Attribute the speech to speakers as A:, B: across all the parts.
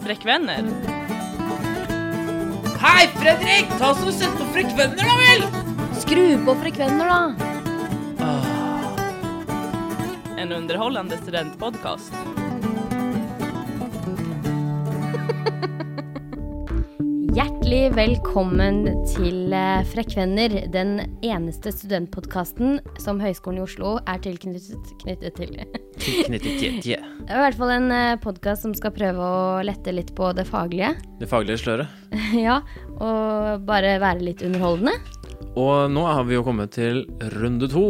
A: Frekkvenner.
B: Hei, Fredrik! Ta oss og Sett på frekvenner, da vel!
C: Skru på frekvenner, da.
A: Ah. En underholdende studentpodkast.
C: Hjertelig velkommen til eh, Frekvenner, den eneste studentpodkasten som Høgskolen i Oslo er tilknyttet knyttet til. Det
B: Tilknyttet tetje.
C: er i hvert fall en podkast som skal prøve å lette litt på det faglige.
B: Det faglige sløret.
C: ja, og bare være litt underholdende.
B: Og nå har vi jo kommet til runde to.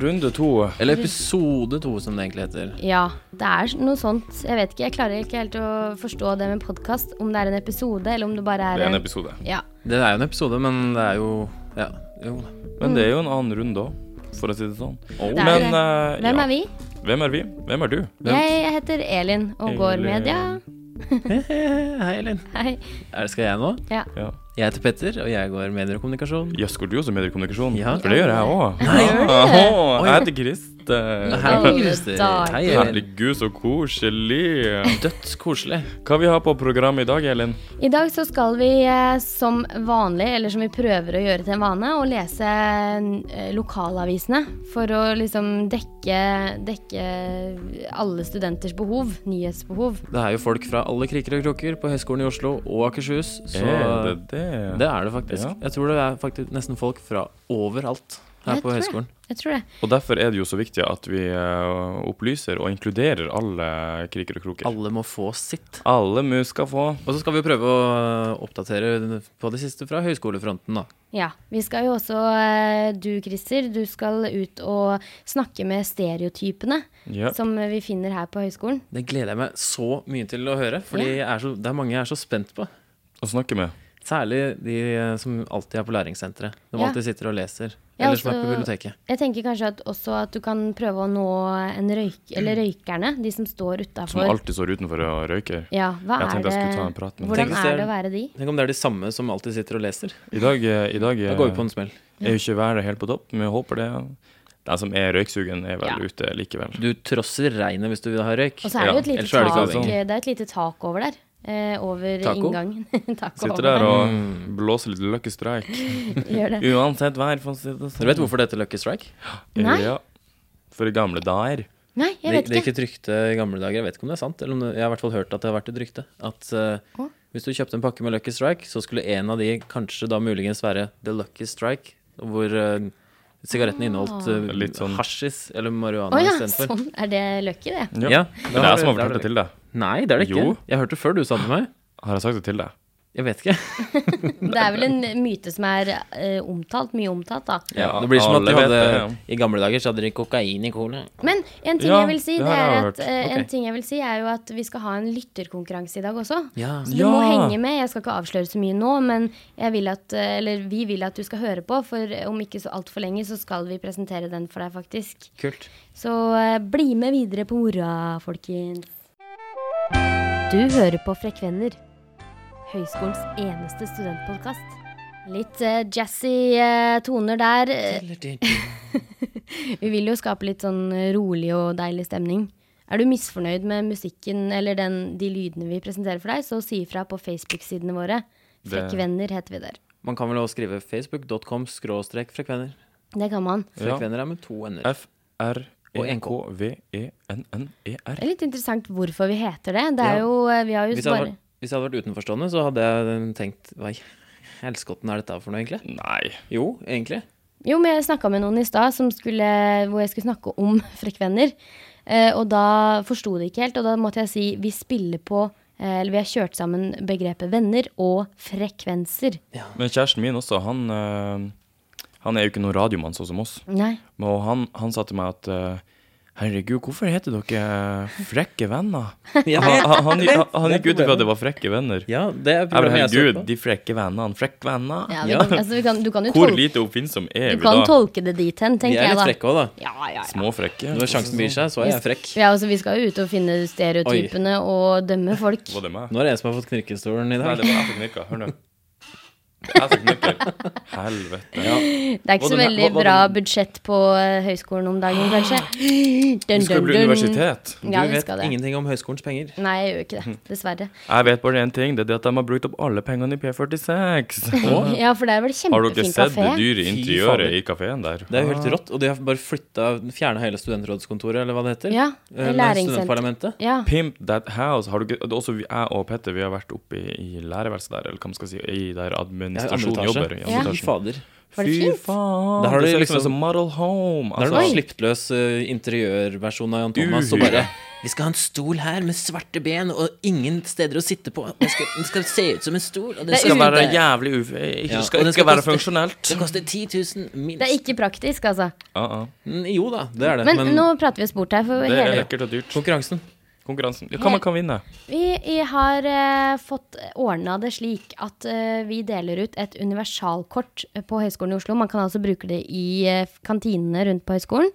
D: Runde to.
B: Eller episode to, som det egentlig heter.
C: Ja, det er noe sånt. Jeg vet ikke, jeg klarer ikke helt å forstå det med podkast. Om det er en episode, eller om det bare er
D: Det er en episode.
C: Ja.
B: Det er jo en episode, men det er jo Ja. Jo.
D: Men det er jo en annen runde òg, for å si det sånn.
B: Oh.
C: Det er
D: Men
C: det.
D: eh,
C: Hvem
D: ja.
C: er vi?
D: Hvem er vi? Hvem er du?
C: Jeg heter Elin og går
D: Elin.
C: media.
B: Hei, Elin.
C: Hei.
B: Er det skal jeg nå?
C: Ja.
D: Ja.
B: Jeg heter Petter, og jeg går medier og kommunikasjon.
D: Jøss, går du også i mediekommunikasjon?
B: Ja.
D: For det gjør jeg òg.
C: Gjør du?
D: jeg heter Christer.
C: Hei. alle
B: Christer.
C: dager.
B: Hei, Elin.
D: Herregud, så koselig.
B: Dødskoselig.
D: Hva vi har på programmet i dag, Elin?
C: I dag så skal vi eh, som vanlig, eller som vi prøver å gjøre til en vane, å lese eh, lokalavisene. For å liksom dekke, dekke alle studenters behov. Nyhetsbehov.
B: Det er jo folk fra alle kriker og kroker på Høgskolen i Oslo og Akershus, så
D: er det
B: det,
D: det?
B: er Eh, det faktisk.
D: Ja.
B: Jeg tror det er faktisk nesten folk fra overalt her
C: Jeg
B: på
C: tror det.
B: høgskolen.
C: Jeg tror det.
D: Og derfor er det jo så viktig at vi eh, opplyser og inkluderer alle kriker og kroker.
B: Alle må få sitt.
D: Alle mus skal få.
B: Og så skal vi jo prøve å oppdatere på det siste fra høyskolefronten, da.
C: Ja. Vi skal jo også eh, Du, Christer, du skal ut og snakke med stereotypene
D: Ja.
C: som vi finner her på høyskolen.
B: Det gleder jeg meg så mye til å høre, fordi jeg er så, det er mange jeg er så spent på.
D: Å snakke med.
B: Særlig de eh, som alltid er på læringssenteret. De
C: Ja.
B: alltid sitter og leser.
C: Ja,
B: Eller som er
C: altså-
B: på biblioteket.
C: Jeg tenker kanskje at også at du kan prøve å nå en røyk, eller røykerne. De som står utafor.
D: Som alltid står utenfor og røyker.
C: Ja, hva
D: Jeg
C: er
D: tenkte
C: det
D: jeg skulle ta en prat med
C: Hvordan
B: Tenk hvis
C: er
B: det-
C: det å være de?
B: Tenk om det er de samme som alltid sitter og leser.
D: I dag, eh, i dag eh,
B: Da går vi på en smell.
D: er jo ikke været helt på topp, men jeg håper det. De som er røyksugen, er vel
C: Ja.
D: ute likevel.
B: Du trosser regnet hvis du vil ha røyk.
C: Og så er det jo
D: Ja,
C: et lite,
B: ellers er det
C: tak,
B: ikke
D: avhengig.
C: det er et lite tak over der. Eh, over
B: Taco?
C: inngangen. tak
D: Sitter
C: over
D: der og
B: Mm.
D: blåser litt lucky strike.
C: Gjør det.
D: Uansett vær, for å si det sånn.
B: Dere vet hvorfor det heter Lucky Strike?
C: Nei.
D: Ja. For i gamle dager.
C: Nei, jeg
B: Det,
C: vet
B: det
C: ikke.
B: gikk et rykte i gamle dager, jeg vet ikke om det er sant. Eller om det, jeg har i hvert fall hørt at det har vært et rykte. At eh,
C: Å.
B: hvis du kjøpte en pakke med Lucky Strike, så skulle en av de kanskje da muligens være The Lucky Strike, hvor eh, sigaretten inneholdt eh,
D: Litt sånn-
B: hasjis eller
C: Ah. Å
B: marihuana
C: ja,
B: istedenfor.
C: sånn. Er det lucky, det?
D: Ja.
B: Ja,
D: det
B: da
D: er
B: har
D: jeg som har
B: du- da har
D: fortalt det
B: du-
D: til deg.
B: Nei, det er det ikke.
D: Jo.
B: Jeg hørte det før du sa det til meg.
D: Har jeg sagt det til deg?
B: Jeg vet ikke.
C: Det er vel en myte som er eh, omtalt, mye omtalt, da.
D: Ja,
B: det blir som at
D: alle
B: du
D: vet
B: hadde
D: det,
B: I gamle dager så hadde de kokain i cola.
C: Men en ting,
D: Ja,
C: jeg vil si,
D: det
C: det
D: har
C: er
D: jeg
C: at,
D: hørt.
C: eh, en
B: Ok.
C: ting jeg vil si, er jo at vi skal ha en lytterkonkurranse i dag også.
B: Ja.
C: Så du
D: Ja.
C: må henge med. Jeg skal ikke avsløre så mye nå, men jeg vil at, eh, eller vi vil at du skal høre på. For om ikke så altfor lenge, så skal vi presentere den for deg, faktisk.
B: Kult.
C: Så eh, bli med videre på mora, folkens. Du hører på Frekvenner, høyskolens eneste studentpodkast. Litt eh, jazzy eh, toner der. Eh, Vi vil jo skape litt sånn rolig og deilig stemning. Er du misfornøyd med musikken eller den, de lydene vi presenterer for deg, så si ifra på Facebook-sidene våre.
D: Det-
C: Frekvenner heter vi der.
B: Man kan vel også skrive facebook.com skråstrek frekvenner.
C: Det kan man.
D: Ja.
B: Frekvenner er med to n-er. Og
D: E
B: NK.
C: Det
D: F-r-e-k-v-e-n-n-e-r.
C: er litt interessant hvorfor vi heter det. Det
B: Ja.
C: er jo, eh, vi har jo
B: Hvis jeg, hadde
C: bare
B: vært, hvis jeg hadde vært utenforstående, så hadde jeg eh, tenkt Hva i helskotten er dette for noe, egentlig?
D: Nei.
B: Jo, egentlig.
C: Jo, men jeg snakka med noen i stad som skulle- hvor jeg skulle snakke om frekvenner. Eh, og da forsto de ikke helt, og da måtte jeg si vi spiller på eh, Eller vi har kjørt sammen begrepet venner og frekvenser.
D: Men kjæresten min også, han, eh, han er jo ikke noen radiomann sånn som oss.
C: Nei.
D: Men Og han, han sa til meg at eh, Herregud, hvorfor heter dere eh, Frekke venner?
B: Ja,
D: Han, han, han, gikk- han gikk ut ifra
B: problemet.
D: at det var Frekke venner. Jeg
B: ja det er
D: bare,
B: problemet jeg så
D: herregud,
B: på.
D: de frekke vennene. Frekke venner.
C: Ja, vi,
B: Ja.
C: Altså, vi kan, du kan jo
D: Hvor
C: tolke,
D: lite oppfinnsom er
C: du
D: vi
C: kan
D: da?
C: tolke det dit hen,
B: De
C: tenker
B: er
C: jeg
B: litt
C: da.
B: frekke òg, da.
C: Ja, ja, ja.
D: Små frekke.
B: Når sjansen byr seg, så er jeg frekk.
C: ja altså, vi skal jo ut og finne stereotypene og dømme folk.
D: Var det meg?
B: Nå er det en som har fått knirkestolen i
D: Nei,
B: dag.
D: det var jeg som knirka. Hør nå. Jeg har sagt nøkkel. Helvete. Ja.
C: Det er ikke
D: Hva
C: så
D: den-
C: veldig
D: hva- hva
C: bra
D: den-
C: budsjett på eh, høyskolen om dagen, kanskje. Dun,
D: Du skal
C: dun,
D: bli
C: dun.
D: universitet.
C: Ja,
B: du
C: det
B: vet
C: skal det.
B: ingenting om høyskolens penger.
C: Nei, jeg gjør jo ikke det.
D: Hm.
C: Dessverre.
D: Jeg vet bare én ting. Det er det at de har brukt opp alle pengene i P46.
C: Ja, for der var det
D: Har dere
C: kjempefin
D: sett det
C: kafé.
D: dyre
B: Fy
D: interiøret
B: fader.
D: i kafeen der?
B: Det er jo helt rått, og de har bare flytta Fjerna hele studentrådskontoret, eller hva det heter.
C: Ja,
B: Eh, med
C: læringssenter.
B: Studentparlamentet.
C: Ja.
D: Pimp that house. Har du ikke, det er også vi- jeg og Petter vi har vært oppe i, i lærerværelset der, eller hva man skal si, i der administrasjonen
B: Ja, i andre
D: jobber. i andre
C: Ja.
B: Fy
D: etasjen.
B: fader.
C: Var det fint?
D: Fy faen!
B: Der har
D: det
B: du
D: ser ut som
B: liksom-
D: en sånn model home.
B: Da er det
D: Altså,
B: en slippløs eh, interiørversjon av Jan Thomas. Og
D: Uhyre.
B: bare Vi skal ha en stol her med svarte ben og ingen steder å sitte på. Den skal, den skal se ut som en stol. Og den
C: Det er
D: det skal
B: skal,
C: ute.
D: være jævlig uf... Ikke,
B: Ja,
D: skal,
B: og den
D: ikke
B: skal
D: være
B: koste-
D: funksjonelt.
B: det koster 10 000 minst.
C: Det er ikke praktisk, altså.
D: Ja, ja.
B: Mm, Jo da, det er det.
C: Men,
B: Men,
C: nå prater vi oss bort her, for
D: Det er
C: hele
D: lekkert og dyrt.
B: konkurransen
D: Konkurransen. Ja, hva man kan vinne?
C: Vi, vi har eh, fått ordna det slik at eh, vi deler ut et universalkort eh, på Høgskolen i Oslo. Man kan altså bruke det i eh, kantinene rundt på høgskolen.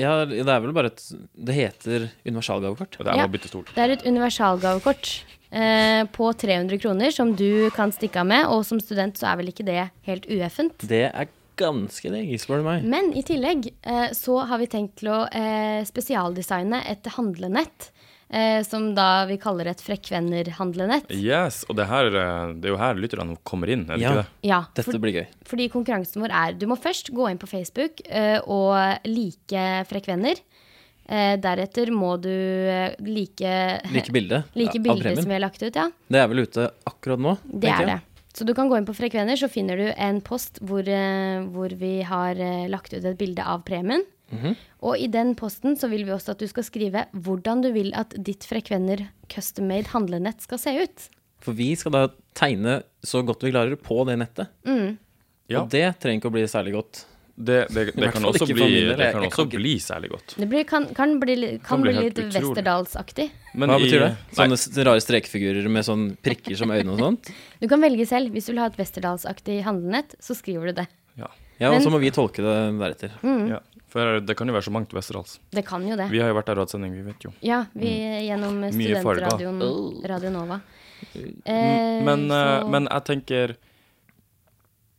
B: Ja, det er vel bare et Det heter universalgavekort.
D: Det er
C: Ja.
D: å bytte stol.
C: Det er et universalgavekort eh, på 300 kroner som du kan stikke av med, og som student så er vel ikke det helt ueffent.
B: Det er ganske digg, spør du meg.
C: Men i tillegg eh, så har vi tenkt til å eh, spesialdesigne et handlenett, eh, som da vi kaller et frekvenner-handlenett.
D: Yes, og det, her, eh, det er jo her lytterne kommer inn, er det
B: Ja.
D: ikke det?
C: Ja, for-
B: Dette blir gøy.
C: Fordi konkurransen vår er Du må først gå inn på Facebook eh, og like frekvenner. Eh, deretter må du eh, like
B: Like bilde
C: like
B: av
C: bilder som
B: premien.
C: vi har lagt ut, ja.
B: Det er vel ute akkurat nå?
C: Det er det. Så du kan gå inn på frekvenner, så finner du en post hvor, eh, hvor vi har eh, lagt ut et bilde av premien.
D: Mhm.
C: Og i den posten så vil vi også at du skal skrive hvordan du vil at ditt frekvenner custom made handlenett skal se ut.
B: For vi skal da tegne så godt vi klarer på det nettet.
D: Ja.
B: Og det trenger ikke å bli særlig godt.
D: Det, det, det
B: hvert
D: kan
B: fall
D: også
B: ikke
D: bli,
B: for min del, jeg-
D: det kan
B: jeg kan
D: også
B: ikke-
D: bli særlig godt.
C: Det blir, kan, kan bli, li- kan
D: Kan bli
C: bli
D: helt
C: litt
D: utrolig.
C: Westerdalsaktig.
D: Men
B: Hva
D: i-
B: betyr det?
D: Nei,
B: Sånne s- rare strekfigurer med sånn prikker som øyne og sånt?
C: Du kan velge selv. Hvis du vil ha et Westerdalsaktig handlenett, så skriver du det.
D: ja.
B: Ja, og
C: Men- Mm.
B: så må vi tolke det deretter.
D: Ja, for det kan jo være så mangt Westerdals.
C: Det kan jo det.
D: Vi har jo vært der og hatt sending, vi vet jo.
C: Ja, vi gjennom
D: Mye farger.
C: studentradioen Radio Nova.
D: Men, eh,
C: så-
D: men jeg tenker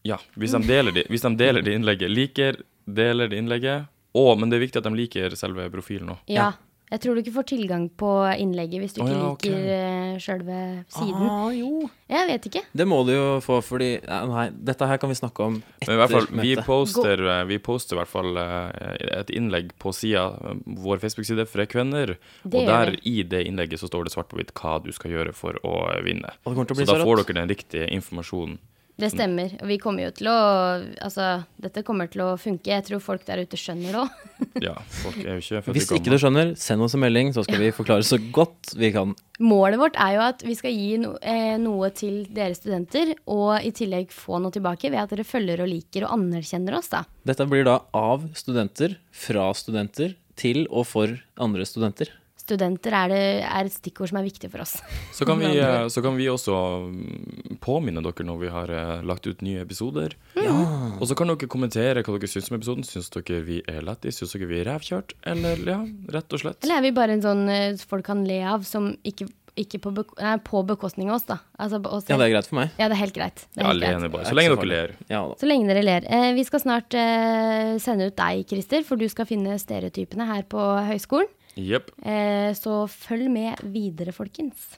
D: Ja, hvis de deler det hvis de deler det innlegget, liker, deler det innlegget og, Men det er viktig at de liker selve profilen òg.
C: Ja. Jeg tror du ikke får tilgang på innlegget hvis du
D: Å
C: ikke
D: ja, ok.
C: liker eh, sjølve siden.
B: Ah, jo.
C: Jeg vet ikke.
B: Det må du jo få, fordi ja, Nei, dette her kan vi snakke om
D: Men
B: etter
D: i hvert fall, vi
B: møtet.
D: poster, eh, vi poster i hvert fall eh, et innlegg på sida, vår Facebook-side, Frekvenner.
C: Det gjør
D: Og der i det innlegget så står det svart på hvitt hva du skal gjøre for å vinne.
B: Og det kommer til å
D: Så
B: bli
D: da
B: så
D: får
B: rått.
D: dere den riktige informasjonen.
C: Det stemmer. Og vi kommer jo til å Altså, dette kommer til å funke. Jeg tror folk der ute skjønner det òg.
D: Ja, folk er jo ikke født i
B: Hvis ikke
D: gamma.
B: du skjønner, send oss en melding, så skal vi forklare så godt vi kan.
C: Målet vårt er jo at vi skal gi no, eh, noe til dere studenter, og i tillegg få noe tilbake ved at dere følger og liker og anerkjenner oss, da.
B: Dette blir da av studenter, fra studenter, til og for andre studenter.
C: Studenter er, det, er et stikkord som er viktig for oss.
D: Så kan, vi, eh, så kan vi også mm, påminne dere når vi har eh, lagt ut nye episoder. Og så kan dere kommentere hva dere syns om episoden. Syns dere vi er lættis? Syns dere vi er rævkjørt? Eller ja, rett og slett.
C: Eller er vi bare en sånn eh, folk kan le av, som ikke, ikke på, bek nei, på bekostning av oss, da? Altså, på oss
B: Ja,
C: selv.
B: det er greit for meg.
C: ja, det er helt greit. Det er
D: Ja,
C: helt greit.
D: alene bare.
B: Det er
D: Så lenge
B: ikke
D: dere ler.
B: farlig. Ja da.
C: Så lenge dere ler. Eh, vi skal snart eh, sende ut deg, Christer, for du skal finne stereotypene her på høyskolen.
D: Jepp.
C: Eh, så følg med videre, folkens.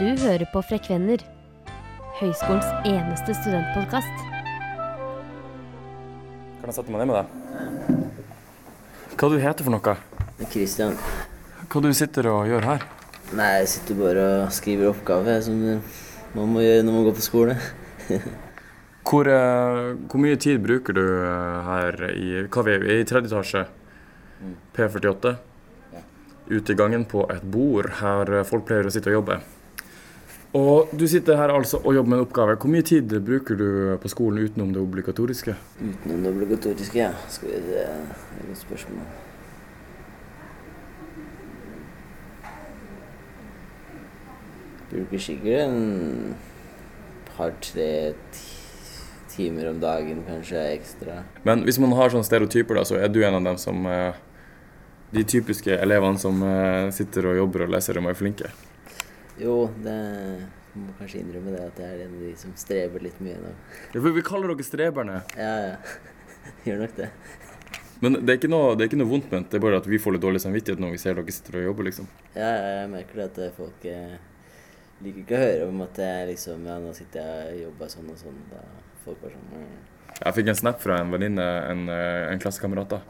C: Du hører på Frekvenner, høyskolens eneste studentpodkast.
D: Kan jeg sette meg ned med deg? Hva du heter for noe?
E: Kristian.
D: Hva du sitter og gjør her?
E: Nei, jeg sitter bare og skriver oppgave som man må gjøre når man går på skole.
D: Hvor, mye tid bruker du eh, her i Hva vi er i tredje etasje? P48. Ute i gangen på et bord her eh, folk pleier å sitte og jobbe. Og du sitter her altså og jobber med en oppgave. Hvor mye tid bruker du på skolen utenom det obligatoriske?
E: Utenom det obligatoriske, ja. Skal vi det er et godt spørsmål. Bruker sikkert en par-tre ti- timer om dagen kanskje ekstra.
D: Men hvis man har sånne stereotyper, da, så er du en av dem som eh, De typiske elevene som eh, sitter og jobber og leser og er flinke.
E: Jo, det jeg må kanskje innrømme det at jeg er en av de som streber litt mye nå.
D: Ja, for vi kaller dere streberne.
E: Ja, ja. Gjør nok det.
D: Men det er ikke noe, det er ikke noe vondt ment. Det er bare at vi får litt dårlig samvittighet når vi ser dere sitter og jobber, liksom.
E: Ja, ja, jeg merker det at eh, folk eh, liker ikke å høre om at jeg liksom Ja, nå sitter jeg og jobber sånn og sånn. Da folk bare sånn mm.
D: Jeg fikk en snap fra en venninne, en, eh, en klassekamerat, da.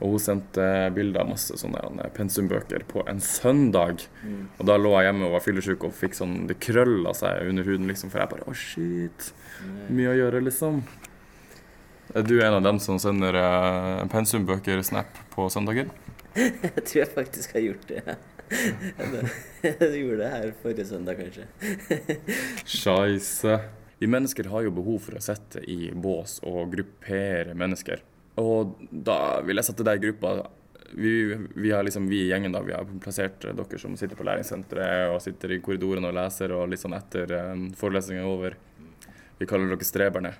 D: Og hun sendte bilder av masse sånne her pensumbøker på en søndag.
E: mm.
D: Og da lå jeg hjemme og var fyllesyk og fikk sånn Det krølla seg under huden, liksom. For jeg bare Å, shit. Mye å gjøre, liksom. Er du en av dem som sender eh, pensumbøker-snap på søndager?
E: Jeg tror jeg faktisk har gjort det. Jeg gjorde det her forrige søndag, kanskje.
D: Scheisse. Vi mennesker har jo behov for å sette i bås og gruppere mennesker. Og da vil jeg sette deg i gruppa. Vi, vi, har liksom, vi i gjengen da, vi har plassert dere som sitter på læringssenteret og sitter i korridoren og leser og litt sånn etter um, forelesningen er over. Vi kaller dere streberne.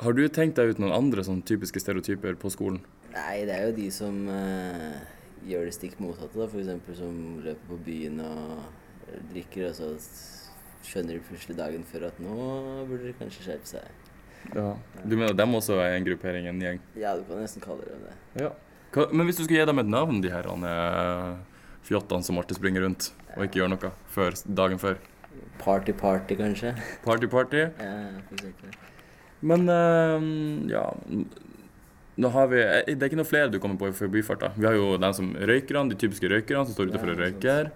D: Har du tenkt deg ut noen andre sånn typiske stereotyper på skolen?
E: Nei, det er jo de som eh, gjør det stikk motsatte, da. For eksempel som løper på byen og drikker, og så s- skjønner de plutselig dagen før at nå burde de kanskje skjerpe seg.
D: Ja. Du mener dem også er en gruppering, en gjeng?
E: Ja, du kan nesten kalle dem det.
D: Ja. Hva, men hvis du skulle gi dem et navn, de her eh, fjottene som alltid springer rundt og ikke gjør noe før, dagen før.
E: Party-party, kanskje.
D: Party-party.
E: Ja, for eksempel.
D: Men eh, ja Nå har vi eh, Det er ikke noe flere du kommer på i forbifarta. Vi har jo den som røykerne, de typiske røykerne som står utenfor og
E: Ja,
D: røyker.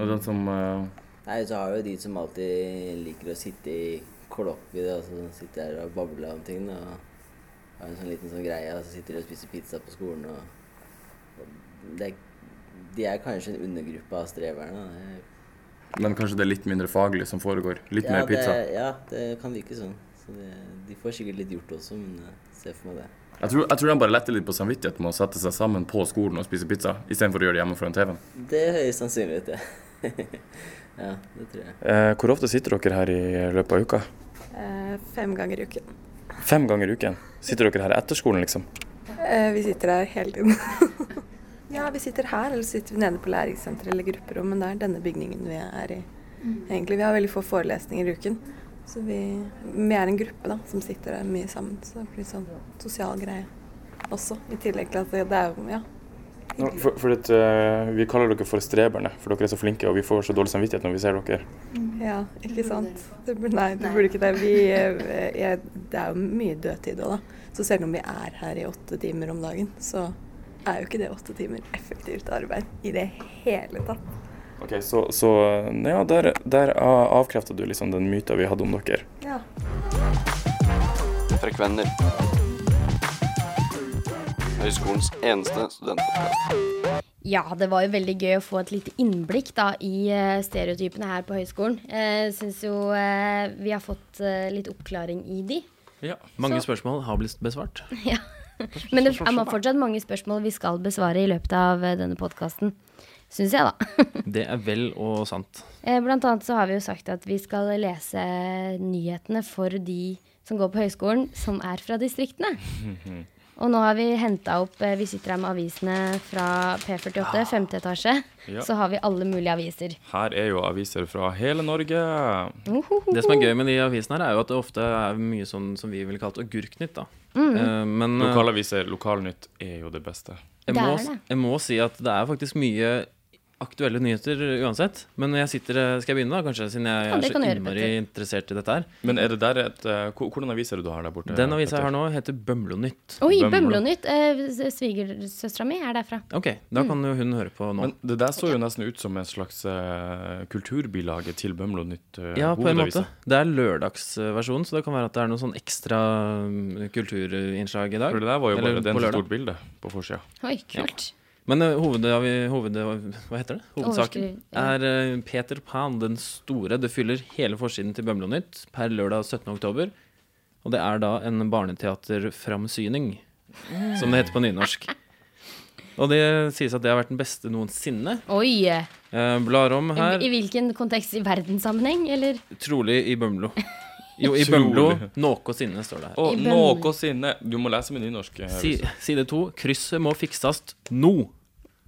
D: Og den som eh,
E: Nei, så har vi jo de som alltid liker å sitte i kloppet, da, altså som sitter der og babler om ting. da, Og har en sånn liten sånn greie, og så sitter de og spiser pizza på skolen og og det, De er kanskje en undergruppe av streverne. da. Det-
D: Men kanskje det er litt mindre faglig som foregår. Litt
E: ja,
D: mer pizza.
E: Det, ja, det kan virke sånn. Så det, de får sikkert litt gjort også, men eh, se for meg det.
D: Jeg tror, jeg tror de bare letter litt på samvittigheten med å sette seg sammen på skolen og spise pizza, istedenfor å gjøre det hjemme foran TV-en.
E: Det er høyst sannsynlig ut, det. ja, det tror jeg.
D: Eh, hvor ofte sitter dere her i løpet av uka?
F: Eh, Fem ganger i uken.
D: Fem ganger i uken. Sitter dere her etter skolen, liksom?
F: Eh, Vi sitter her hele tiden. ja, vi sitter her, eller så sitter vi nede på læringssenteret eller grupperom, men det er denne bygningen vi er i. Egentlig, Vi har veldig få forelesninger i uken. Så vi, vi er en gruppe da, som sitter der mye sammen. Så det blir litt sånn sosial greie også. I tillegg til at det, det er jo ja,
D: No, for, for at, eh, vi kaller dere for streberne, for dere er så flinke, og vi får så dårlig samvittighet når vi ser dere.
F: Ja, ikke sant? Det burde, nei, det burde ikke det. Vi, eh, jeg, det er jo mye dødtid òg, da. Så selv om vi er her i åtte timer om dagen, så er jo ikke det åtte timer effektivt arbeid i det hele tatt.
D: Ok, Så, så eh, ja, der, der a- avkrefter du liksom den myta vi hadde om dere.
F: Ja.
G: Frekvenner. Høyskolens eneste studentpodkast.
C: Ja, det var jo veldig gøy å få et lite innblikk da, i eh, stereotypene her på høyskolen. Jeg syns jo eh, vi har fått eh, litt oppklaring i de.
B: Mange
C: Så-
B: spørsmål har blitt besvart.
C: Ja. Men det er fortsatt mange spørsmål vi skal besvare i løpet av eh, denne podkasten. Syns jeg, da.
B: Det er vel og sant.
C: Eh, Blant annet så har vi jo sagt at vi skal lese nyhetene for de som går på høyskolen, som er fra distriktene. Og nå har vi henta opp eh, Vi sitter her med avisene fra
B: Ah.
C: P48, femte etasje.
D: Ja.
C: Så har vi alle mulige aviser.
D: Her er jo aviser fra hele Norge.
C: Ohoho.
B: Det som er gøy med de avisene her, er jo at det ofte er mye sånn som vi ville kalt agurknytt, da.
C: Mm.
B: Eh, Men eh,
D: Lokalaviser, Lokalnytt er jo det beste.
B: jeg
C: Det
B: må,
C: er det.
B: jeg må si at det er faktisk mye aktuelle nyheter uansett. Men når jeg sitter eh, Skal jeg begynne, da? Kanskje, siden jeg
C: Ja,
B: er
C: det
B: så
C: kan du gjøre,
B: innmari
C: Petter.
B: interessert i dette her.
D: Men er det der et eh, hvor- Hvordan aviser er det du har der borte?
B: Den avisa jeg
D: Petter?
B: har nå, heter Bømlonytt.
C: Oi,
D: Bømlo.
C: Bømlonytt. Eh, s- Svigersøstera mi er derfra.
B: Ok, da
C: Mm.
B: kan jo hun høre på nå.
D: Men det der så jo nesten ut som en slags eh, kulturbilage til Bømlo Nytt. eh,
B: Ja, på en måte.
D: hovedavisa.
B: Det er lørdagsversjonen, så det kan være at det er noe sånn ekstra mm, kulturinnslag i dag.
D: For det der var jo
B: Eller
D: bare det er
B: på
D: en så
B: lørdag.
D: stort bilde på forsida.
C: Oi, kult.
B: Men eh, hovedav, hoved, hva heter det? hovedsaken
C: Overskri- ja.
B: er eh, Peter Pan den store. Det fyller hele forsiden til Bømlo Nytt per lørdag 17. oktober. Og det er da en barneteaterframsyning, som det heter på nynorsk. Og det sies at det har vært den beste noensinne.
C: Oi. eh,
B: Eh, Blar om
C: I,
B: her.
C: I hvilken kontekst? I verdenssammenheng, eller?
B: Trolig i Bømlo. Jo, i
D: Trolig.
B: Bømlo noensinne, står det her.
D: Og
C: I Bømlo.
D: noe sinne Du må lese med nynorsk. eh,
B: Si,
D: hvis-
B: side to. Krysset må fiksast nå.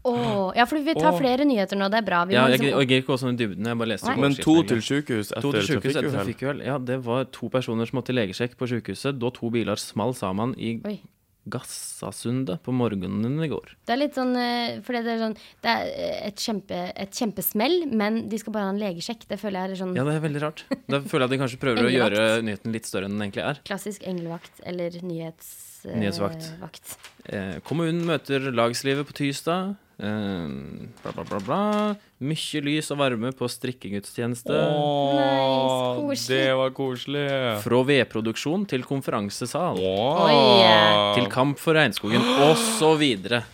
C: Åh, ja, for vi tar
D: Åh.
C: flere nyheter nå. Det er bra. Vi
B: Ja,
C: må
B: jeg, gir- og
C: liksom,
B: jeg gir ikke gå sånn i dybden. Jeg bare leste
C: Nei.
D: Men to til sykehus
B: To
D: etter
B: til sykehus etter
D: trafikkuhell.
B: trafikkuhell. Ja, det var to personer som måtte legesjekk på sykehuset da to biler small sammen i
C: oi.
B: Gassasundet på morgenen i går.
C: Det er litt sånn eh, Fordi det er sånn Det er eh, et, kjempe, et kjempesmell, men de skal bare ha en legesjekk. Det føler jeg er sånn
B: Ja, det er veldig rart. Da føler jeg at de kanskje prøver å
C: Englevakt.
B: gjøre nyheten litt større enn den egentlig er.
C: klassisk englevakt eller nyhets, eh,
B: Nyhetsvakt.
C: vakt.
B: Eh, kommunen møter lagslivet på tirsdag. Eh, bla, bla, bla, bla. Mye lys og varme på strikkegudstjeneste.
D: Åh,
C: Nice, koselig.
D: det var koselig.
B: Fra vedproduksjon til konferansesal.
D: Åh.
C: Oi, eh.
B: Til kamp for regnskogen, og så videre.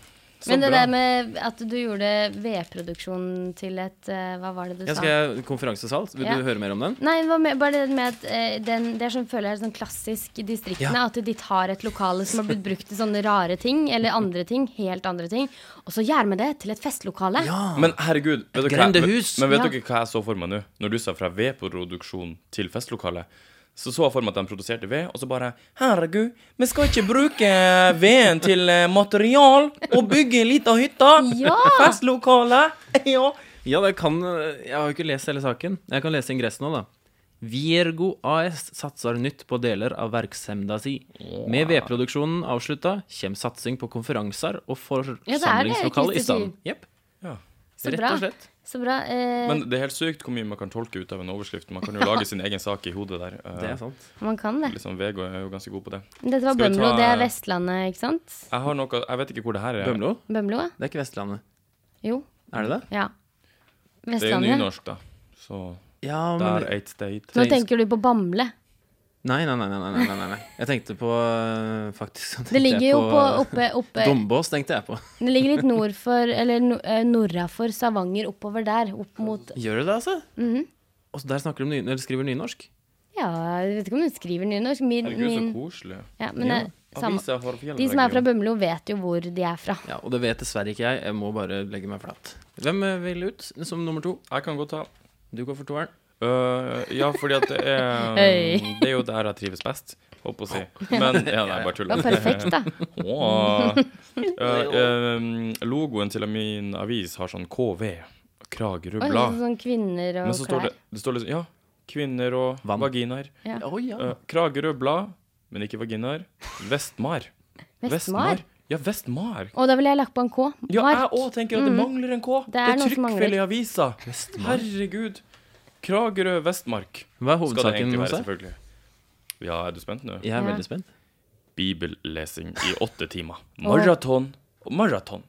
C: Men det der
D: bra.
C: med at du gjorde vedproduksjon til et eh, Hva var det du
B: Ja,
C: sa?
B: skal jeg konferansesal? Vil
C: Ja.
B: du høre mer om den?
C: Nei, det var med, bare det med at eh, den, det er sånn, føler jeg er sånn klassisk distriktene.
B: Ja.
C: At de tar et lokale som har blitt brukt til sånne rare ting, eller andre ting, helt andre ting, og så gjør vi det til et festlokale.
D: Men herregud, vet dere, hva-
B: Grendehus.
D: men, men vet
C: Ja.
D: dere hva jeg så for meg nå? Når du sa fra vedproduksjon til festlokale, så så jeg for meg at de produserte ved, og så bare Herregud, vi skal ikke bruke veden til eh, material og bygge ei lita hytte!
C: Ja!
D: Festlokale! Ja!
B: Ja, det kan eh, Jeg har jo ikke lest hele saken. Jeg kan lese ingressen nå, da. Viergo AS satser nytt på deler av virksomheten si. Med vedproduksjonen avslutta kommer satsing på konferanser og
C: det Christer
B: forsamlingslokaler i
C: sier.
B: stand. Jep,
C: så
B: rett
C: bra.
B: og slett.
C: Så bra. eh,
D: Men det er helt sykt hvor mye man kan tolke ut av en overskrift. Man kan jo lage sin egen sak i hodet der. Eh,
B: Det er sant.
C: man kan det.
D: Liksom, VG er jo ganske god på det.
C: Dette var
D: Skal vi
C: Bømlo,
D: ta-
C: det er Vestlandet, ikke sant?
D: Jeg har noe Jeg vet ikke hvor det her er.
B: Bømlo?
C: Bømlo, ja.
B: Det er ikke Vestlandet.
C: Jo.
B: Er det det?
C: Ja.
D: Det er jo
C: Vestlandet.
D: nynorsk, da. Så
B: Ja,
D: der ate state.
C: Nå tenker du på Bamble.
B: Nei, nei, nei. nei, nei, nei, nei, nei. Jeg tenkte på øh, Faktisk
C: Det
B: så tenkte
C: ligger
B: jeg
C: jo på
B: på eh,
C: oppe, oppe
B: Dombås, tenkte jeg på.
C: Det ligger litt nord for Eller no- eh, nordafor Stavanger, oppover der. Opp mot
B: Gjør det det, altså?
C: Mhm.
B: Og så der snakker de ny, eller skriver nynorsk?
C: Ja, jeg vet ikke om du skriver nynorsk. Min,
D: Herregud, så
C: min
D: koselig.
C: ja, men eh, samme.
D: Avisa Hårfjell.
C: De som er fra Bømlo, vet jo hvor de er fra.
B: Ja, Og det vet dessverre ikke jeg. Jeg må bare legge meg flat. Hvem øh, vil ut som nummer to?
D: Jeg kan godt ta.
B: Du går for toeren.
D: Øh, ja, fordi at det er eh,
C: Hei.
D: Det er jo der jeg trives best, holdt på å si. Men ja, nei,
C: Det
D: bare tuller.
C: var perfekt, da.
D: Åh. Øh, øhm, logoen til min avis har sånn KV, Kragerø
C: Oi,
D: Blad.
C: sånn kvinner
D: Men
C: og
D: så står
C: klær.
D: det, det står liksom Ja, kvinner og
B: Vann.
D: vaginaer.
C: Ja.
B: Å ja.
D: Øh, Kragerø Blad, men ikke vaginaer. Vestmar.
C: Vestmar.
D: Ja, Vestmar.
C: Og da ville jeg lagt på en K.
D: Ja, jeg
C: Mark. Mm.
D: òg tenker at det mangler en K. Det
C: er
D: er,
C: noe som mangler.
D: trykkfeil i avisa. Herregud. Kragerø Vestmark
B: Hva er
D: skal det
B: hovedsaken hos
D: egentlig være,
B: deg?
D: selvfølgelig. Ja, er du spent nå?
B: Jeg er
C: Ja.
B: veldig spent.
D: Bibellesing i åtte timer. Maraton og maraton.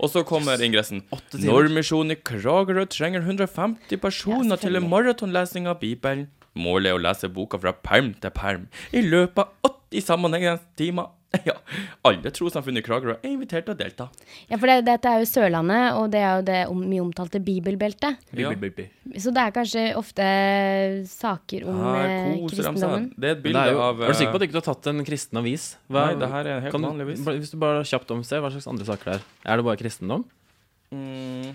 D: Og så kommer ingressen.
B: timer.
D: Nordmisjonen i Kragerø trenger 150 personer til en maratonlesing av Bibelen. Målet er å lese boka fra perm til perm i løpet av 80 sammenhengende timer. Ja, alle trossamfunn i Kragerø er invitert til å delta.
C: Ja, for det, dette er jo Sørlandet, og det er jo det om, mye omtalte bibelbeltet.
D: Ja.
C: Så det er kanskje ofte saker om eh,
D: Her koser de seg.
C: kristendommen.
D: Det er
B: Men det
D: et bilde
B: er, jo,
D: av eh,
B: er du sikker på at du ikke har tatt en kristen avis? Hva-
D: Nei, det her er en helt
B: kan du-
D: vanlig avis.
B: bare- Hvis du bare kjapt omser, hva slags andre saker det er? Er det bare kristendom?
D: Mm,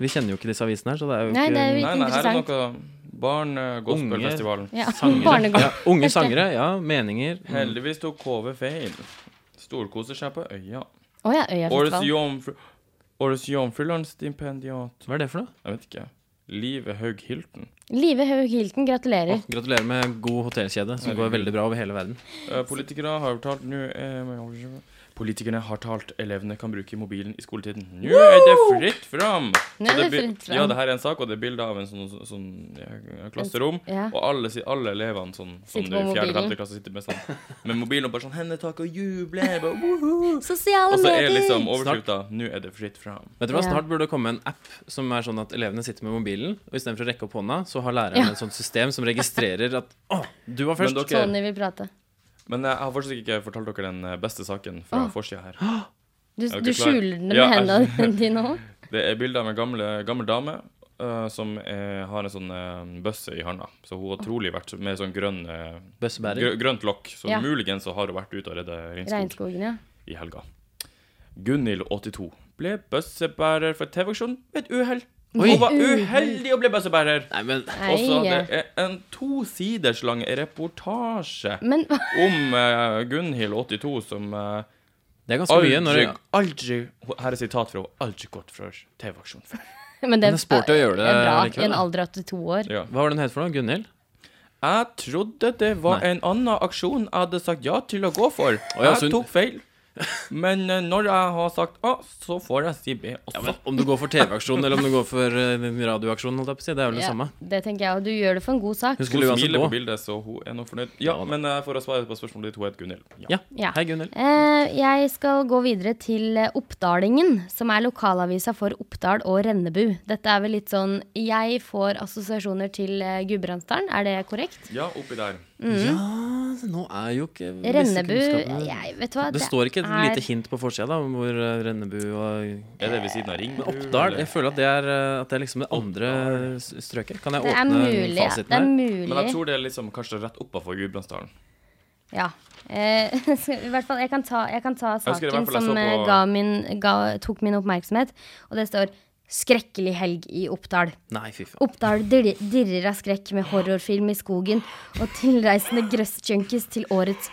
B: Vi kjenner jo ikke disse avisene her, så det er jo
C: Nei,
B: ikke
C: det er jo ikke
D: Nei, nei, her er
C: interessant.
D: noe Barn eh, Gospelfestivalen.
C: Ja,
B: Sangere.
C: barnegård.
B: Ja, unge
C: Helt
B: sangere, ja. Meninger. Mm.
D: Heldigvis tok KV feil. Storkoser seg på øya.
C: Å ja,
D: Årets
C: Øyafestival.
D: jomfru... Årets jomfrulandsstipendiat
B: Hva er det for noe?
D: Jeg vet ikke. Live Haug Hilton.
C: Live Haug Hilton, gratulerer.
B: Å, gratulerer med god hotellkjede, som går veldig bra over hele verden.
D: Eh, Politikere har talt nå eh, Politikerne har talt elevene kan bruke mobilen i skoletiden. Nå er det fritt fram!
C: Nå er
D: Så
C: det
D: bi-
C: fritt fram.
D: Ja, det her er en sak, og det er bilde av en sånn, sånn ja, klasserom.
C: Ja.
D: Og alle, si- alle elevene sånn, som
C: Sitter
D: du i
C: på
D: 4.
C: mobilen.
D: 5. klasse sitter med sånn med mobilen og bare sånn Hender tak og jubler. Bare, woo.
C: Sosiale
D: og så er
C: medier!
D: liksom overskrifta Nå er det fritt fram.
B: Vet du hva,
C: Ja.
B: Snart burde det komme en app som er sånn at elevene sitter med mobilen, og istedenfor å rekke opp hånda, så har læreren
C: Ja.
B: et sånt system som registrerer at Å, du var
D: Men
B: først!
D: dere,
C: Tony vil prate.
D: men jeg har fortsatt ikke fortalt dere den eh, beste saken fra
C: Åh.
D: forsida her.
C: Du,
D: Er dere
C: du
D: klar?
C: skjuler det med
D: Ja, altså. jeg-
C: hendene dine òg?
D: Det er bilde av en gamle, gammel dame eh, som eh, har en sånn eh, bøsse i handa. Så hun
C: Ah.
D: har trolig vært med sånn grønn, eh, grø
B: Bøssebærer.
D: grønt lokk. Så
C: Ja.
D: muligens så har hun vært ute og redda regnskog
C: Regnskogen, ja.
D: i helga. Gunhild, 82, ble bøssebærer for TV-aksjonen ved et uhell.
B: Oi.
D: Hun var uheldig og ble bøssebærer.
B: Nei, men
C: Nei,
D: Og så det
C: ja.
D: er en tosiders lang reportasje
C: Men
D: om eh, Gunhild, 82, som eh,
B: Det er ganske mye. Når
D: Aldri,
B: det,
D: aldri Her er sitat fra henne. Aldri gått for TV-aksjon før.
C: Men det
B: Men det er sporty å gjøre det
C: er bra
B: likevel,
C: i en
B: da.
C: alder av 82 år.
D: Ja.
B: hva var den het for noe? Gunhild?
D: Jeg trodde det var
B: Nei.
D: en annen aksjon jeg hadde sagt ja til å gå for.
B: ja, så
D: jeg
B: hun-
D: tok feil. Men eh, når jeg har sagt A, så får jeg si B også.
B: Ja, men om du går for TV-aksjon eller om du går for eh, radioaksjon, holdt jeg på å si, det er vel det
C: Ja,
B: samme.
C: det tenker jeg, og du gjør det for en god sak.
B: Hun
D: Hun
B: skulle uansett
D: smiler på
B: gå.
D: bildet, så hun er nå fornøyd. Ja,
B: Ja da.
D: men eh, for å svare på spørsmålet ditt, hun heter Gunhild. Ja.
B: Ja.
C: Ja.
B: Hei, Gunhild.
C: Eh, jeg skal gå videre til eh, Oppdalingen, som er lokalavisa for Oppdal og Rennebu. Dette er vel litt sånn Jeg får assosiasjoner til eh, Gudbrandsdalen, er det korrekt?
D: ja, oppi der.
B: Ja, nå er jo ikke disse
C: Mm. Rennebu
B: kunnskapene-
C: jeg, Vet du hva,
B: Det står ikke et lite hint på forsida da, om hvor eh, Rennebu og
D: Er det ved siden av Ringu?
B: Oppdal.
D: eller?
B: Jeg føler at det er, eh, at det er liksom det andre s- strøket. Kan jeg
C: Det er
B: åpne
C: mulig. ja. Det
B: fasiten
C: er
B: her?
C: mulig.
D: Men jeg tror det er liksom kanskje rett oppafor Gudbrandsdalen.
C: Ja. Eh, I hvert fall, jeg kan ta, jeg kan ta
D: husker i
C: saken
D: hvert fall jeg
C: som
D: så
C: eh,
D: på-
C: ga min, ga, tok min oppmerksomhet, og det står 'Skrekkelig helg i Oppdal'.
B: Nei, fy faen.
C: Oppdal dirri- dirrer av skrekk med horrorfilm i skogen og tilreisende grøssjunkies til årets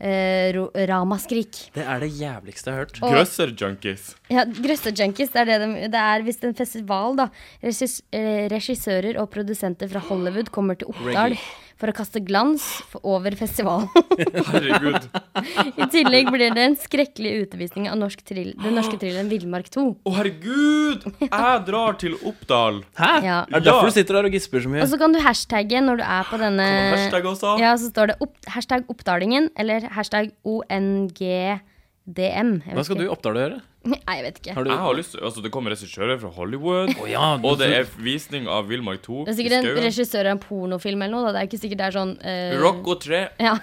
C: eh, ro- ramaskrik.
B: Det er det jævligste jeg har hørt.
C: Og-
D: Grøsser-junkies.
C: Ja, Grøssejunkies, det er det de, det er visst en festival, da. Regis, eh, regissører og produsenter fra Hollywood kommer til Oppdal for å kaste glans f- over festivalen.
D: Herregud.
C: I tillegg blir det en skrekkelig utevisning av norsk trill, den norske thrilleren Villmark 2.
D: Å, herregud! Jeg drar til Oppdal.
B: Hæ?
C: Ja.
B: Er det derfor du sitter der og gisper så mye?
C: Og så kan du hashtagge når du er på denne
D: Hashtag også.
C: Ja, så står det opp, hashtag oppdalingen eller hashtag ONGDM. Jeg
B: Hva
C: vet
B: skal du i
C: ikke.
B: Oppdal gjøre?
C: Nei, jeg vet ikke.
B: Har du
D: Jeg har lyst til, altså Det kommer regissører fra Hollywood,
B: ja,
D: og det er visning av Villmark 2
C: Det er sikkert en regissør av en pornofilm eller noe. Da. Det er ikke sikkert det er sånn eh,
D: Rocco 3.
C: Ja.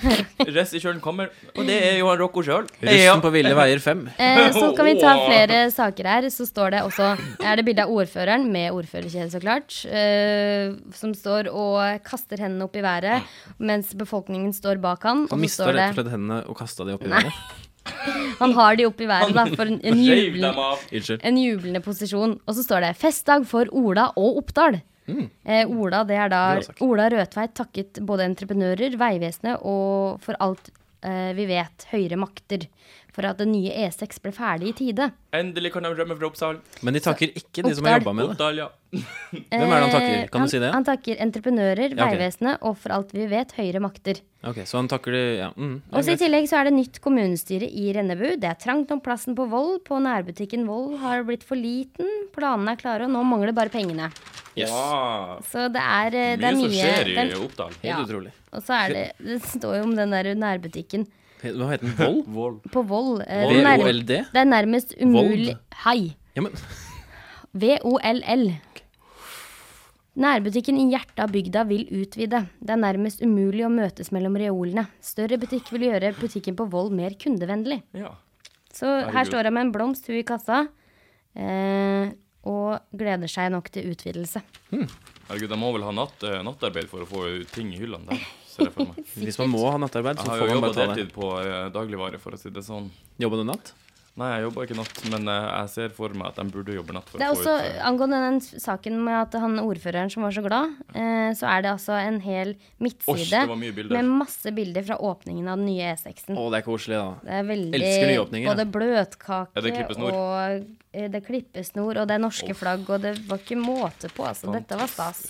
D: Regissøren kommer, og det er jo han Rocco sjøl.
B: Russen på ville veier fem.
C: Eh, så kan vi ta flere saker her. Så står det også Er det bilde av ordføreren, med ordførerkjede, så klart, eh, som står og kaster hendene opp i været mens befolkningen står bak han.
B: Han
C: Og så
B: mista
C: står
B: rett og
C: det
B: slett hendene og kasta de opp i været.
C: Han har de opp i været, da, for en, en
D: Reiv
C: julen...
D: dem av.
B: Unnskyld.
C: En jublende posisjon. Og så står det 'Festdag for Ola og Oppdal'. Eh, Ola det er da
B: Mm. Bra sagt.
C: Ola Rødtveit takket både entreprenører, Vegvesenet og for alt eh, vi vet, høyere makter for at den nye E6 ble ferdig i tide.
D: Endelig kan de rømme fra Oppdal.
B: Men de takker ikke de som
C: Oppdal.
B: har jobba med det.
D: Oppdal, ja.
B: Hvem er det han takker?
C: Eh,
B: Kan du si det?
C: Han takker entreprenører,
B: Ja, ok.
C: Vegvesenet og for alt vi vet, høyere makter.
B: Ok, Så han takker de ja. mm, det er
C: Og så I
B: greit.
C: tillegg så er det nytt kommunestyre i Rennebu. Det er trangt om plassen på Vold. På nærbutikken Vold har blitt for liten. Planene er klare, og nå mangler bare pengene.
B: Yes.
D: Wow.
C: Så det er, eh, det
D: Mye
C: er
D: som
C: mye
D: skjer i
C: det er-
D: Oppdal.
B: Helt
C: Ja.
B: utrolig.
C: Og så er det Det står jo om den der nærbutikken
B: Hva heter den? Vold?
C: på Vold. eh,
B: Vold.
C: nær-
B: VOLD?
C: Det er nærmest umulig Hei.
B: Ja, men
C: VOLL. Nærbutikken i hjertet av bygda vil utvide. Det er nærmest umulig å møtes mellom reolene. Større butikk vil gjøre butikken på Vold mer kundevennlig.
D: Ja.
C: Så her står jeg med en blomst, hun i kassa, eh, og gleder seg nok til utvidelse.
D: Herregud, de må vel ha natt, eh, nattarbeid for å få ting i hyllene der. Ser jeg for meg.
B: hvis man må ha nattarbeid,
D: Jeg
B: så
D: har
B: får
D: jo
B: man
D: jobba
B: bare ta det.
D: deltid på eh, dagligvare, for å si det sånn.
B: Jobba du natt?
D: Nei, jeg jobber ikke natt, men eh, jeg ser for meg at de burde jobbe natt. for
C: Det er
D: å få
C: også
D: ut, eh,
C: angående den s- saken med at han ordføreren som var så glad, eh, så er det altså en hel
D: Osh, det
C: midtside
D: var mye bilder.
C: med masse bilder fra åpningen av den nye E6-en.
B: Å, det er koselig, da.
C: Det er
B: elsker nye
C: veldig
B: åpninger,
C: både
B: jeg.
C: bløtkake
D: Er det klippesnor?
C: og eh, det er klippesnor, og det er norske flagg, og det var ikke måte på, altså. Dette var stas.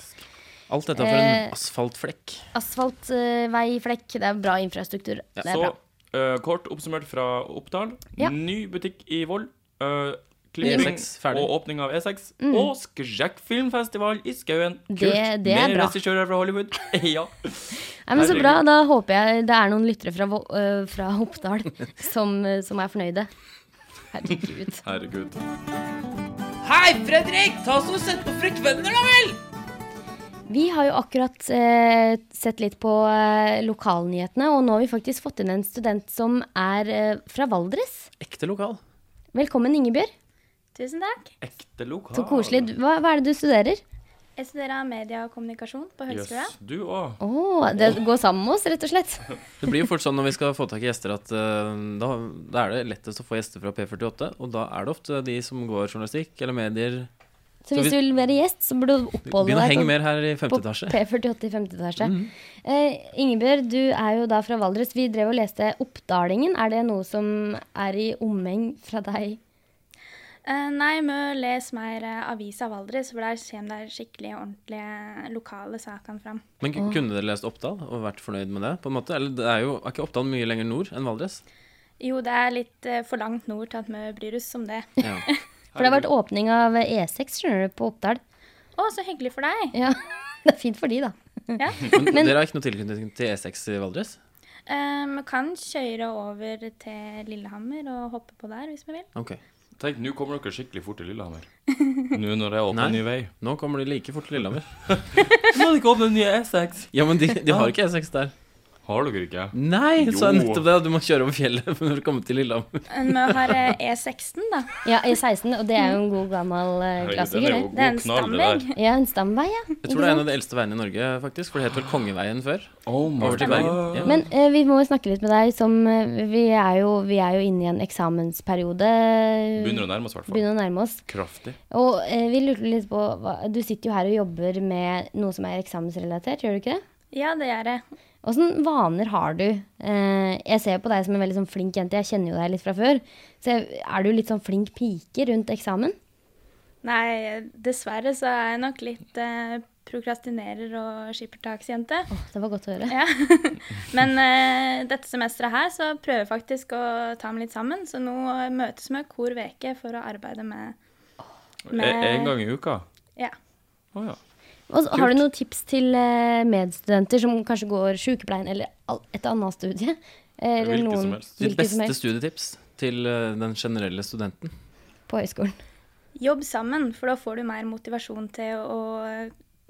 B: Alt dette for en
C: Eh,
B: asfaltflekk.
C: Asfaltveiflekk, det er bra infrastruktur. Det er
D: Så
C: bra.
D: eh, kort oppsummert fra Oppdal.
C: Ja.
D: Ny butikk i Voll. eh,
B: E6
D: Klipping
B: E ferdig.
D: og åpning av E6. Og skrekkfilmfestival i Skauen. Kult.
C: Mm. Det- det er
D: Med
C: bra.
D: regissører fra Hollywood. ja.
C: Nei, men så
D: Herregud.
C: bra. Da håper jeg det er noen lyttere fra, Vo- øh, fra Oppdal som, øh, som er fornøyde. Herregud.
D: Herregud.
A: Hei, Fredrik! Ta oss og Sett på frekvenner, da vel!
C: Vi har jo akkurat eh, sett litt på eh, lokalnyhetene, og nå har vi faktisk fått inn en student som er eh, fra Valdres.
B: Ekte lokal.
C: Velkommen, Ingebjørg.
H: Tusen takk.
D: Ekte lokal.
C: Så koselig. Du- Hva, hva er det du studerer?
H: Jeg studerer media og kommunikasjon på
D: Jøss,
H: høgskolen.
D: du òg.
C: Å, det går sammen med oss, rett og slett.
B: Det blir jo fort sånn når vi skal få tak i gjester, at eh, da, da er det lettest å få gjester fra P48. Og da er det ofte de som går journalistikk eller medier
C: Så hvis du
B: hvis-
C: vil være gjest, så burde du oppholde
B: Begynn å
C: deg
B: henge
C: på-
B: mer her i femte
C: på
B: etasje. Mm.
C: P48 i femte etasje. Eh, Ingebjørg, du er jo da fra Valdres. Vi drev og leste Oppdalingen. Er det noe som er i omheng fra deg?
H: Eh, nei, må lese mer eh, Avisa Valdres, for der kommer de skikkelig ordentlige lokale sakene fram.
B: Men ku- kunne dere lest Oppdal og vært fornøyd med det? på en måte? Eller det er jo er ikke Oppdal mye lenger nord enn Valdres?
H: Jo, det er litt eh, for langt nord til at vi bryr oss om det. Å,
B: Ja.
C: For det har vært åpning av E6 skjønner du, på Oppdal.
H: så hyggelig for deg!
C: Ja, Det er fint for de, da.
H: Ja.
B: Men, dere har ikke noe tilknytning til E6 i Valdres?
H: Eh, vi kan kjøre over til Lillehammer og hoppe på der hvis vi vil.
B: Ok.
D: Tenk, nå kommer dere skikkelig fort til Lillehammer. Nå når jeg åpner
B: Nei.
D: en ny vei.
B: Nå kommer de like fort til Lillehammer.
D: Nå har ikke åpnet nye E6.
B: Ja, men de, de har ikke E6 der.
D: E Har dere ikke?
B: Nei,
D: Jo.
B: sa jeg nettopp det. at Du må kjøre over fjellet for å komme til Lillehammer.
H: Eh, Vi har eh, E16, da.
C: Ja, E16, og det er jo en god gammel eh,
D: Herregud, den
C: klassiker.
D: er jo
C: det.
H: Det er en
D: god knall, det der.
H: stamvegg.
C: Ja, en stamvei, ja.
B: Jeg tror det er en av de eldste veiene i Norge, faktisk. For det het vel Kongeveien før.
D: Oh my
B: Over til Bergen. Ja.
C: Men eh, vi må jo snakke litt med deg som eh, vi, er jo, vi er jo inne i en eksamensperiode.
D: Begynner å nærme oss, i hvert fall.
C: Begynner å nærme oss.
D: Kraftig.
C: Og eh, vi lurte litt på hva, Du sitter jo her og jobber med noe som er eksamensrelatert, gjør du ikke det?
H: Ja, det gjør jeg.
C: Åssen vaner har du? Eh, jeg ser jo på deg som en veldig sånn flink jente, jeg kjenner jo deg litt fra før. Så jeg, er du litt sånn flink pike rundt eksamen?
H: Nei, dessverre så er jeg nok litt eh, prokrastinerer og skippertaksjente.
C: Det var godt å høre.
H: Ja. Men eh, dette semesteret her så prøver jeg faktisk å ta meg litt sammen, så nå eh, møtes vi hver uke for å arbeide med,
D: E- En
H: med
D: gang i uka.
H: ja.
D: Å ja.
C: Og så har du noen tips til eh, medstudenter som kanskje går sykepleien eller al- et annet studie? Eller
D: Hvilket
C: noen,
D: som helst.
B: Ditt
C: hvilket som
B: beste
C: helst
B: studietips til eh, den generelle studenten.
C: på høyskolen.
H: Jobb sammen, for da får du mer motivasjon til å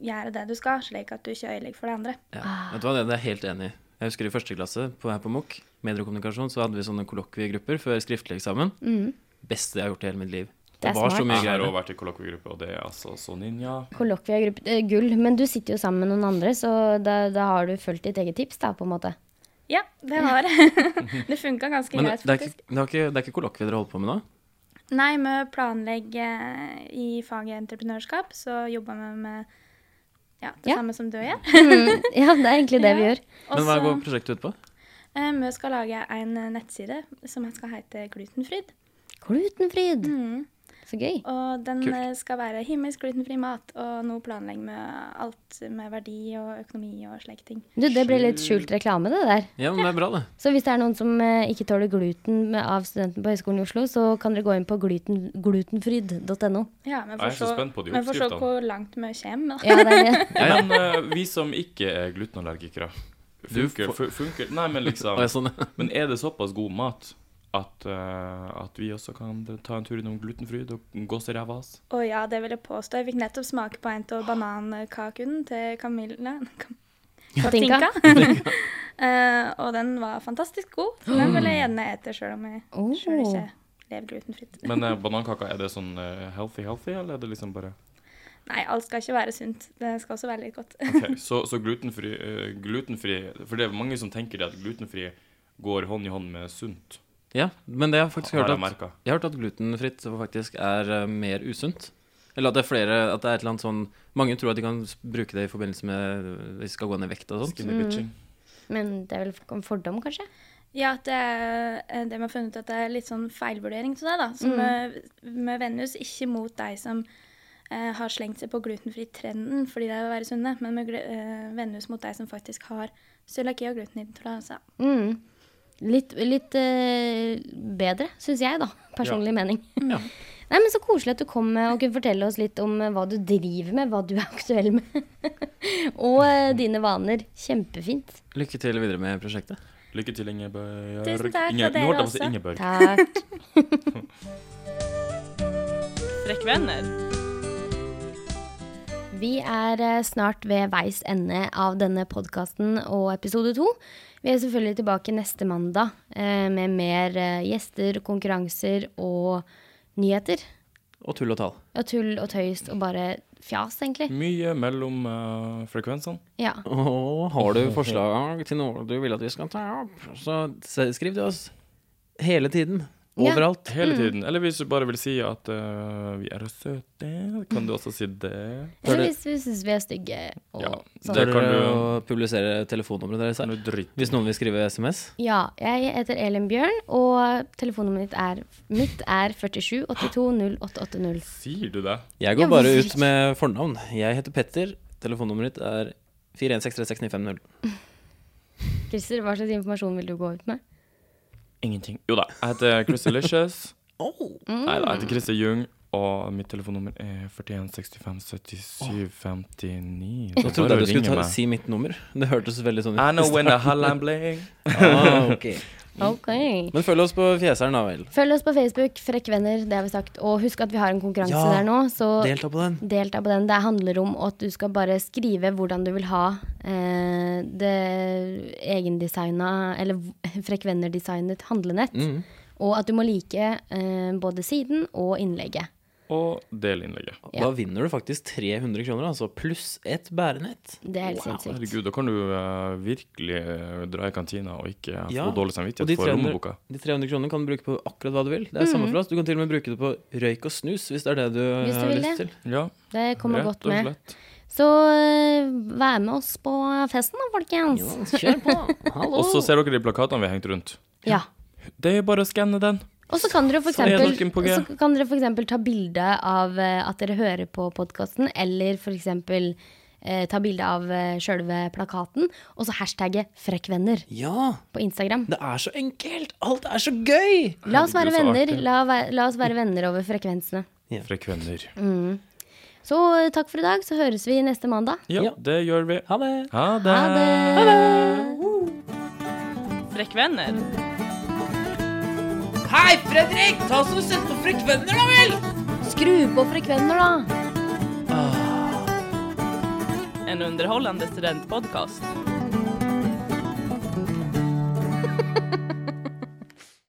H: gjøre det du skal, slik at du ikke ødelegger for de andre.
B: Ja. Vet du hva, det det er jeg helt enig i. Jeg husker i første klasse på, her på MOK, mediekommunikasjon, så hadde vi sånne kollokviegrupper før skriftlig eksamen.
C: Mm.
B: Beste jeg har gjort i hele mitt liv. Det,
C: Det er
B: var
C: smart.
B: så mye
D: Jeg har
B: greier.
D: også vært i kollokviegruppe, og det er altså så ninja.
C: Kollokviegruppe eh, gull, men du sitter jo sammen med noen andre, så da, da har du fulgt ditt eget tips, da, på en måte.
H: Ja, det har jeg. Det funka ganske
B: Men det
H: greit,
B: det er
H: faktisk.
B: ikke, det er ikke, det er ikke kollokvie dere holder på med nå?
H: Nei, vi planlegger eh, i faget entreprenørskap, så jobber vi med ja, det
C: Ja.
H: samme som du gjør.
C: Ja, det er egentlig det vi
H: Mm. Ja.
C: gjør.
B: Men hva
H: Også-
B: går prosjektet ut på?
H: Eh, Vi skal lage en eh, nettside som skal hete Glutenfryd.
C: Glutenfryd!
H: Mm.
C: Så gøy.
H: Og den
B: Kult.
H: eh, skal være himmelsk glutenfri mat. Og nå planlegger vi alt med verdi og økonomi og slike ting.
C: Du, det ble litt skjult reklame, det der.
B: Ja, men det er bra, det.
C: Så hvis det er noen som eh, ikke tåler gluten med- av studenten på Høgskolen i Oslo, så kan dere gå inn på gluten, glutenfryd.no.
H: Ja, vi
D: Jeg er
H: får,
D: så spent på de
H: se, vi får se
D: oppskriftene.
H: hvor langt vi kommer. da.
C: Ja, det er det.
D: Men eh, vi som ikke er glutenallergikere
B: Du
D: Funker,
B: får-
D: fu- funker Nei, men liksom
B: Og jeg sånn,
D: Men er det såpass god mat at, eh, at vi også kan ta en tur innom glutenfryd og gås i ræva oss?
H: Og ja, det vil jeg påstå. Jeg fikk nettopp smake på en av banankaken til Camilla. Kam-
C: Katinka.
H: Katinka. Eh, og den var fantastisk god. så Den vil jeg gjerne ete sjøl om jeg
C: Oh.
H: selv ikke lever glutenfritt.
D: Men eh, banankaker, er det sånn eh, healthy-healthy, eller er det liksom bare
H: Nei, alt skal ikke være sunt. Det skal også være litt godt.
D: Ok, Så, så glutenfri, eh, glutenfri For det er mange som tenker det at glutenfri går hånd i hånd med sunt.
B: ja, men det har jeg faktisk
D: Har
B: hørt
D: jeg
B: at
D: merket.
B: Jeg har hørt at glutenfritt faktisk er eh, mer usunt. Eller at det er flere At det er et eller annet sånn Mange tror at de kan s- bruke det i forbindelse med eh, hvis de skal gå ned i vekt og sånt. Mm.
D: Skinny bitching.
C: Men det er vel en fordom, kanskje?
H: Ja, at det er det vi har funnet ut at det er litt sånn feilvurdering til deg, da. Så vi, vi vender oss ikke mot deg som eh, har slengt seg på glutenfri-trenden fordi det er å være sunne, men vi gl- eh, vender oss mot deg som faktisk har cøliaki og glutenintoleranse.
C: Mm. Litt, litt eh, bedre, syns jeg, da. Personlig mening.
B: Ja.
C: Nei, men Så koselig at du kom eh, og kunne fortelle oss litt om eh, hva du driver med, hva du er aktuell med. og eh, dine vaner. Kjempefint.
B: Lykke til videre med prosjektet.
D: Lykke til, Ingebjørg.
H: Tusen takk for
D: Inge-
H: dere
D: Nå holdt jeg på å si
H: også.
D: Ingebjørg.
C: Takk.
I: Frekkvenner.
C: Vi er eh, snart ved veis ende av denne podkasten og episode to. Vi er selvfølgelig tilbake neste mandag eh, med mer eh, gjester, konkurranser og nyheter.
B: Og tull og tall.
C: Og tull og tøys og bare fjas,
B: Mm.
C: egentlig.
D: Mye mellom eh, frekvensene.
C: Ja.
B: Og har du forslag til noe du vil at vi skal ta opp, så s- skriv til oss. Hele tiden.
C: Ja.
B: Overalt.
C: Mm.
D: Hele tiden. Eller hvis du bare vil si at øh, vi er søte, kan du også si det.
C: Eller hvis vi syns vi er stygge og
D: Ja,
C: sånn.
D: det
B: Tør
D: kan
B: dere
D: du-
B: å publisere telefonnummeret deres
D: Kan
B: her?
D: du drite
B: Hvis noen vil skrive SMS?
C: Ja, jeg heter Elin Bjørn, og telefonnummeret mitt er, mitt er 47 82 0880.
D: Sier du det?
B: Jeg
C: Ja,
B: går bare
C: hvorfor
B: ut
C: ikke?
B: med fornavn. Jeg heter Petter. Telefonnummeret ditt er 416369500.
C: Christer, hva slags informasjon vil du gå ut med?
D: Ingenting. Jo da. Jeg heter Chris Delicious.
B: Oh.
C: Mm.
D: Nei da, jeg heter Christer Jung. Og mitt telefonnummer er
B: Jeg
D: 41657759.
B: trodde jeg du skulle ta, si mitt nummer. Det hørtes veldig sånn
D: I
B: ut.
D: know when the hotline bling.
B: Ah, ok.
C: Ok.
B: Men følg oss på fjeseren, da vel.
C: Følg oss på Facebook, Frekkvenner, det har vi sagt. Og husk at vi har en konkurranse
B: Ja,
C: der nå, så
B: Delta på den.
C: delta på den. Det handler om at du skal bare skrive hvordan du vil ha eh, det egendesigna, eller v- frekvennerdesignet handlenett.
B: Mm.
C: Og at du må like eh, både siden og innlegget.
D: Og del innlegget.
B: Da vinner du faktisk 300 kroner, altså. Pluss et bærenett.
C: Det er helt sinnssykt.
D: Herregud, da kan du eh, virkelig eh, dra i kantina og ikke
B: Ja,
D: få
B: og
D: dårlig
B: de
D: samvittighet for
B: trener-
D: lommeboka.
B: De 300 kronene kan du bruke på akkurat hva du vil. Det er samme for oss. Du kan til og med bruke det på røyk og snus, hvis det er det du,
C: Mhm. Hvis du
B: har
C: vil
B: lyst
C: det.
B: til.
D: Ja,
C: Det kommer
D: rett
C: godt
D: og
C: med.
D: slett.
C: Så eh, vær med oss på festen da, folkens.
D: altså.
B: Kjør på. Hallo.
D: Og så ser dere de plakatene vi har hengt rundt.
C: Ja.
D: Det er jo bare å skanne den.
C: Og så kan dere for
D: Så er
C: eksempel,
D: noen på G.
C: så kan dere for eksempel ta bilde av eh, at dere hører på podkasten, eller for eksempel eh, ta bilde av eh, sjølve plakaten, og så hashtagge 'frekkvenner'
B: Ja,
C: på Instagram.
B: det er så enkelt. Alt er så gøy.
C: La oss være
D: Herregud, så
C: venner
D: artig.
C: la, væ- la oss være venner over frekvensene.
D: Frekvenner.
B: Mm.
C: Så eh, takk for i dag, så høres vi neste mandag.
B: Ja.
D: Ja, det gjør vi.
B: Ha det.
D: Ha
C: Ha
D: det.
C: det!
I: Frekkvenner.
A: Hei, Fredrik! Ta oss og Sett på frekvenner, da vel!
C: Skru på frekvenner, da!
I: En underhållande studentpodcast.